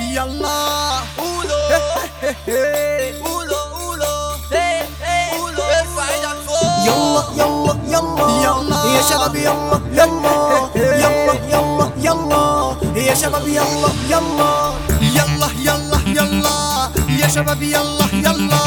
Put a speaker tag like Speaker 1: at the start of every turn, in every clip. Speaker 1: يلا
Speaker 2: قولوا قولوا قولوا ايه ايه ارفع ايدك فوق
Speaker 1: يلا يلا يلا يلا يا شباب يلا يلا يلا يلا يلا يا شباب يلا يلا يلا يلا يلا يا شباب يلا يلا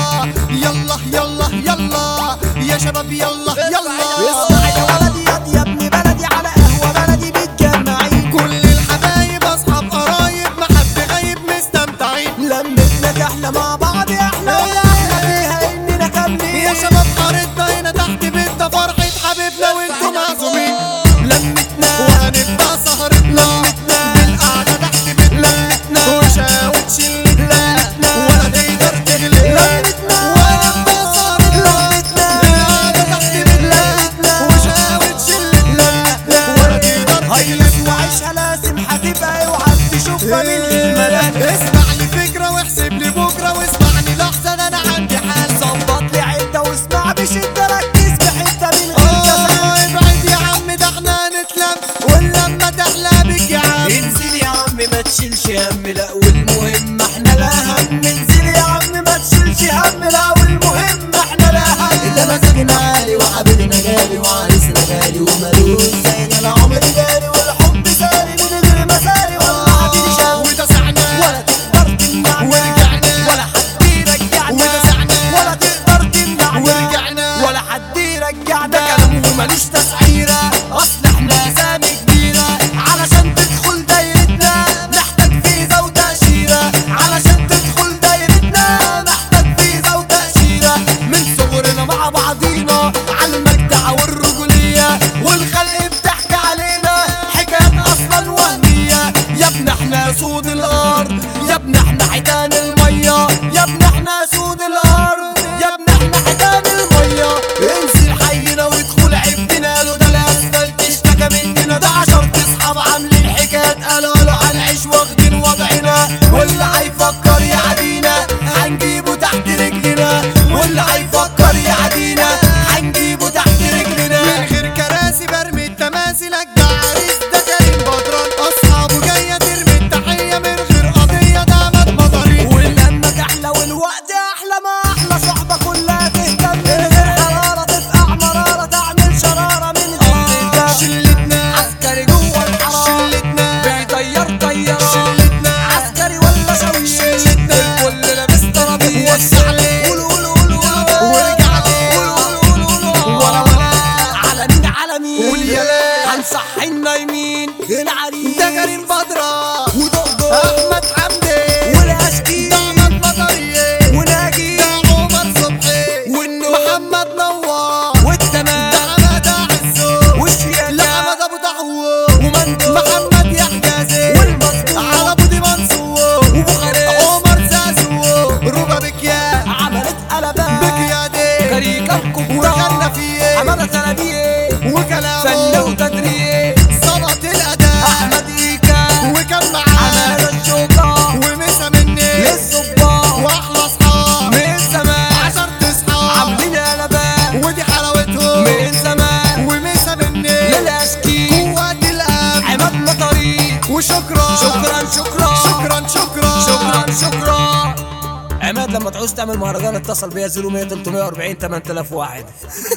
Speaker 1: يلا يلا يلا يا شباب يلا يلا اسمع يا ولدي يا يا ابن بلدي على قهوه بلدي بتجمعين كل الحبايب اصحاب قرايب ما حد غايب مستمتعين لمتنا دي احنا مع بعض احنا احنا فيها اننا كاملين يا شباب قريتنا هنا تحت بيتنا فرحه حبيبنا وانتم معزومين لمتنا وهنبقى سهرتنا لمتنا بالقعده تحت بيتنا لمتنا وشاوت شلتنا لمتنا ولا تقدر تغلبنا لمتنا وهنبقى سهرتنا لمتنا بالقعده تحت بيتنا لمتنا وشاوت شلتنا لمتنا ولا تقدر تغلبنا وعيشها لازم هتبقى اوعى تشوفها من الملاك اسمع لي فكره واحسب لي بكره واسمعني لحظه انا عندي حال ظبط لي عده واسمع بشده ركز في حته من غير كلام ابعد يا عم ده احنا هنتلم واللمه تحلى بيك يا عم انزل يا عم ما تشيلش هم لا والمهم احنا لا هم انزل يا عم ما تشيلش هم لا والمهم احنا لا هم ده مسجن عالي وحبيبنا غالي وعريسنا غالي ومالوش زينا لا عمري جالي والحب سالي من غير مسالي ولا حد شاف وتسعنا ولا تقدر تمنعنا ورجعنا ولا حد يرجعنا وتسعنا ولا تقدر تمنعنا ورجعنا ولا حد يرجعنا ده كلام وماليش تسعيرة اصل احنا اسامي كبيرة علشان تدخل دايرتنا نحتاج فيزا وتأشيرة علشان تدخل دايرتنا نحتاج فيزا وتأشيرة من صغرنا مع بعضينا على المجدع والرجولية والخلق بتحكي علينا حكايات اصلا وهمية يا ابن احنا سود الارض يا ابن احنا عيدان المية يا ابن احنا سود الارض يا ابن احنا عيدان المية انزل حينا وادخل عبنا له ده الاسفلت اشتكى مننا ده عشر اصحاب عاملين حكايات قالوا له هنعيش واخدين وضعنا واللي هيفكر يعدينا هنجيبه تحت رجلنا واللي هيفكر يعدينا هنجيبه تحت رجلنا من غير كراسي برمي التماثيلك ده عريس ده كريم بدران اصحابه جايه ترمي التحيه من غير قضيه ده عماد مطري واللمه تحلى والوقت احلى ما احلى صحبه كلها تهتم من غير حراره تفقع مراره تعمل شراره من غير تهتم آه، شلتنا عسكري جوه الحرام شلتنا بيطير طيار شلتنا عسكري ولا شوي شلتنا الكل لابس ترابيه وسع ليه قولوا قولوا قولوا قولوا وارجع ليه قولوا قولوا قولوا قولوا ورا ورا على مين على مين واليلال هنصحي النايمين العريس ده كريم بدرة ودغدغ احمد حمدي والاشقي ده عماد بدرية وناجي ده عمر صبحي والنور محمد نور والتمام ده عماد عزو والشيخ لا عماد ابو دعوة ومندوب محمد يحيى زين والمظبوط على بودي منصور وبخاري عمر زازو ربا بكيا عملت قلبان بكيا دي كاريكا كبرى ودخلنا فيه عملت قلبيه وكلامه فن وتدريه ظبط الاداء احمد ايكا وكان معاه عمل الشوكه ومسا مني للصباح واحلى اصحاب من زمان عشر تصحاب عاملين قلبان ودي حلاوتهم من زمان ومسا مني للاشكي قوات القلب عماد مطري وشكرا شكرا شكرا شكرا شكرا شكرا شكرا عماد لما تعوز تعمل مهرجان اتصل بيا 01 340 8000 واحد